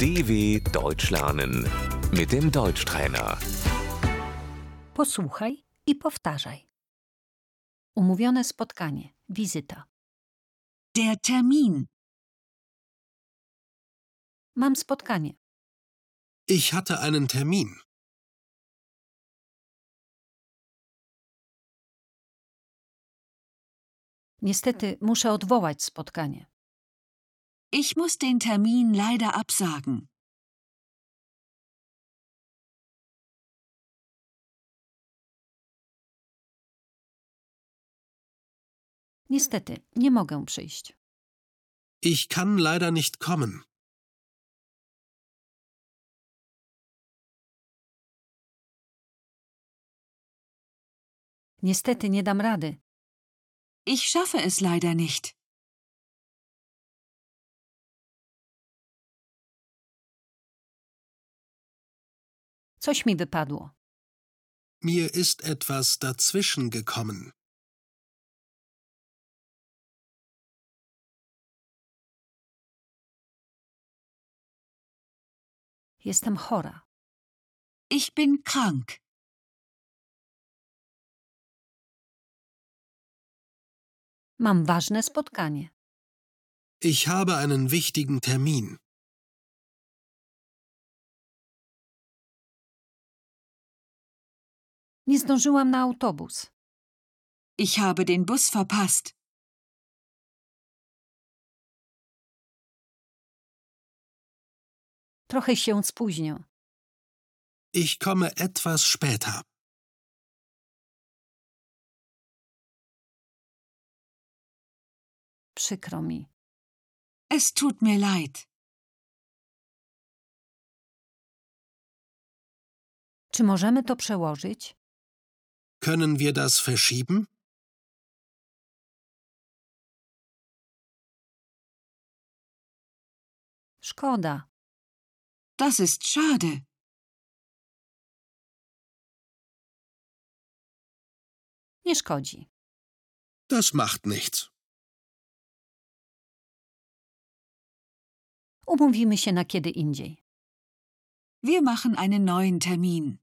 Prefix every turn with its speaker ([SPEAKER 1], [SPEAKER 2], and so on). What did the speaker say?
[SPEAKER 1] DW Deutsch lernen mit dem Deutschtrainer.
[SPEAKER 2] Posłuchaj i powtarzaj. Umówione spotkanie, wizyta.
[SPEAKER 3] Der Termin.
[SPEAKER 2] Mam spotkanie.
[SPEAKER 4] Ich hatte einen Termin.
[SPEAKER 2] Niestety muszę odwołać spotkanie.
[SPEAKER 3] Ich muss den Termin leider absagen.
[SPEAKER 2] Niestety nie mogę przyjść.
[SPEAKER 4] Ich kann leider nicht kommen.
[SPEAKER 2] Niestety nie dam rady.
[SPEAKER 3] Ich schaffe es leider nicht.
[SPEAKER 2] Coś mi wypadło.
[SPEAKER 4] Mir ist etwas dazwischen gekommen.
[SPEAKER 2] Jestem chora.
[SPEAKER 3] Ich bin krank.
[SPEAKER 2] Mam ważne spotkanie.
[SPEAKER 4] Ich habe einen wichtigen Termin.
[SPEAKER 2] Nie zdążyłam na autobus.
[SPEAKER 3] Ich habe den Bus verpasst.
[SPEAKER 2] Trochę się spóźnię.
[SPEAKER 4] Ich komme etwas später.
[SPEAKER 2] Przykro mi.
[SPEAKER 3] Es tut mir leid.
[SPEAKER 2] Czy możemy to przełożyć?
[SPEAKER 4] Können wir das verschieben?
[SPEAKER 2] Szkoda.
[SPEAKER 3] Das ist schade.
[SPEAKER 2] Nie szkodzi.
[SPEAKER 4] Das macht nichts.
[SPEAKER 2] Umówimy się na kiedy indziej.
[SPEAKER 3] Wir machen einen neuen Termin.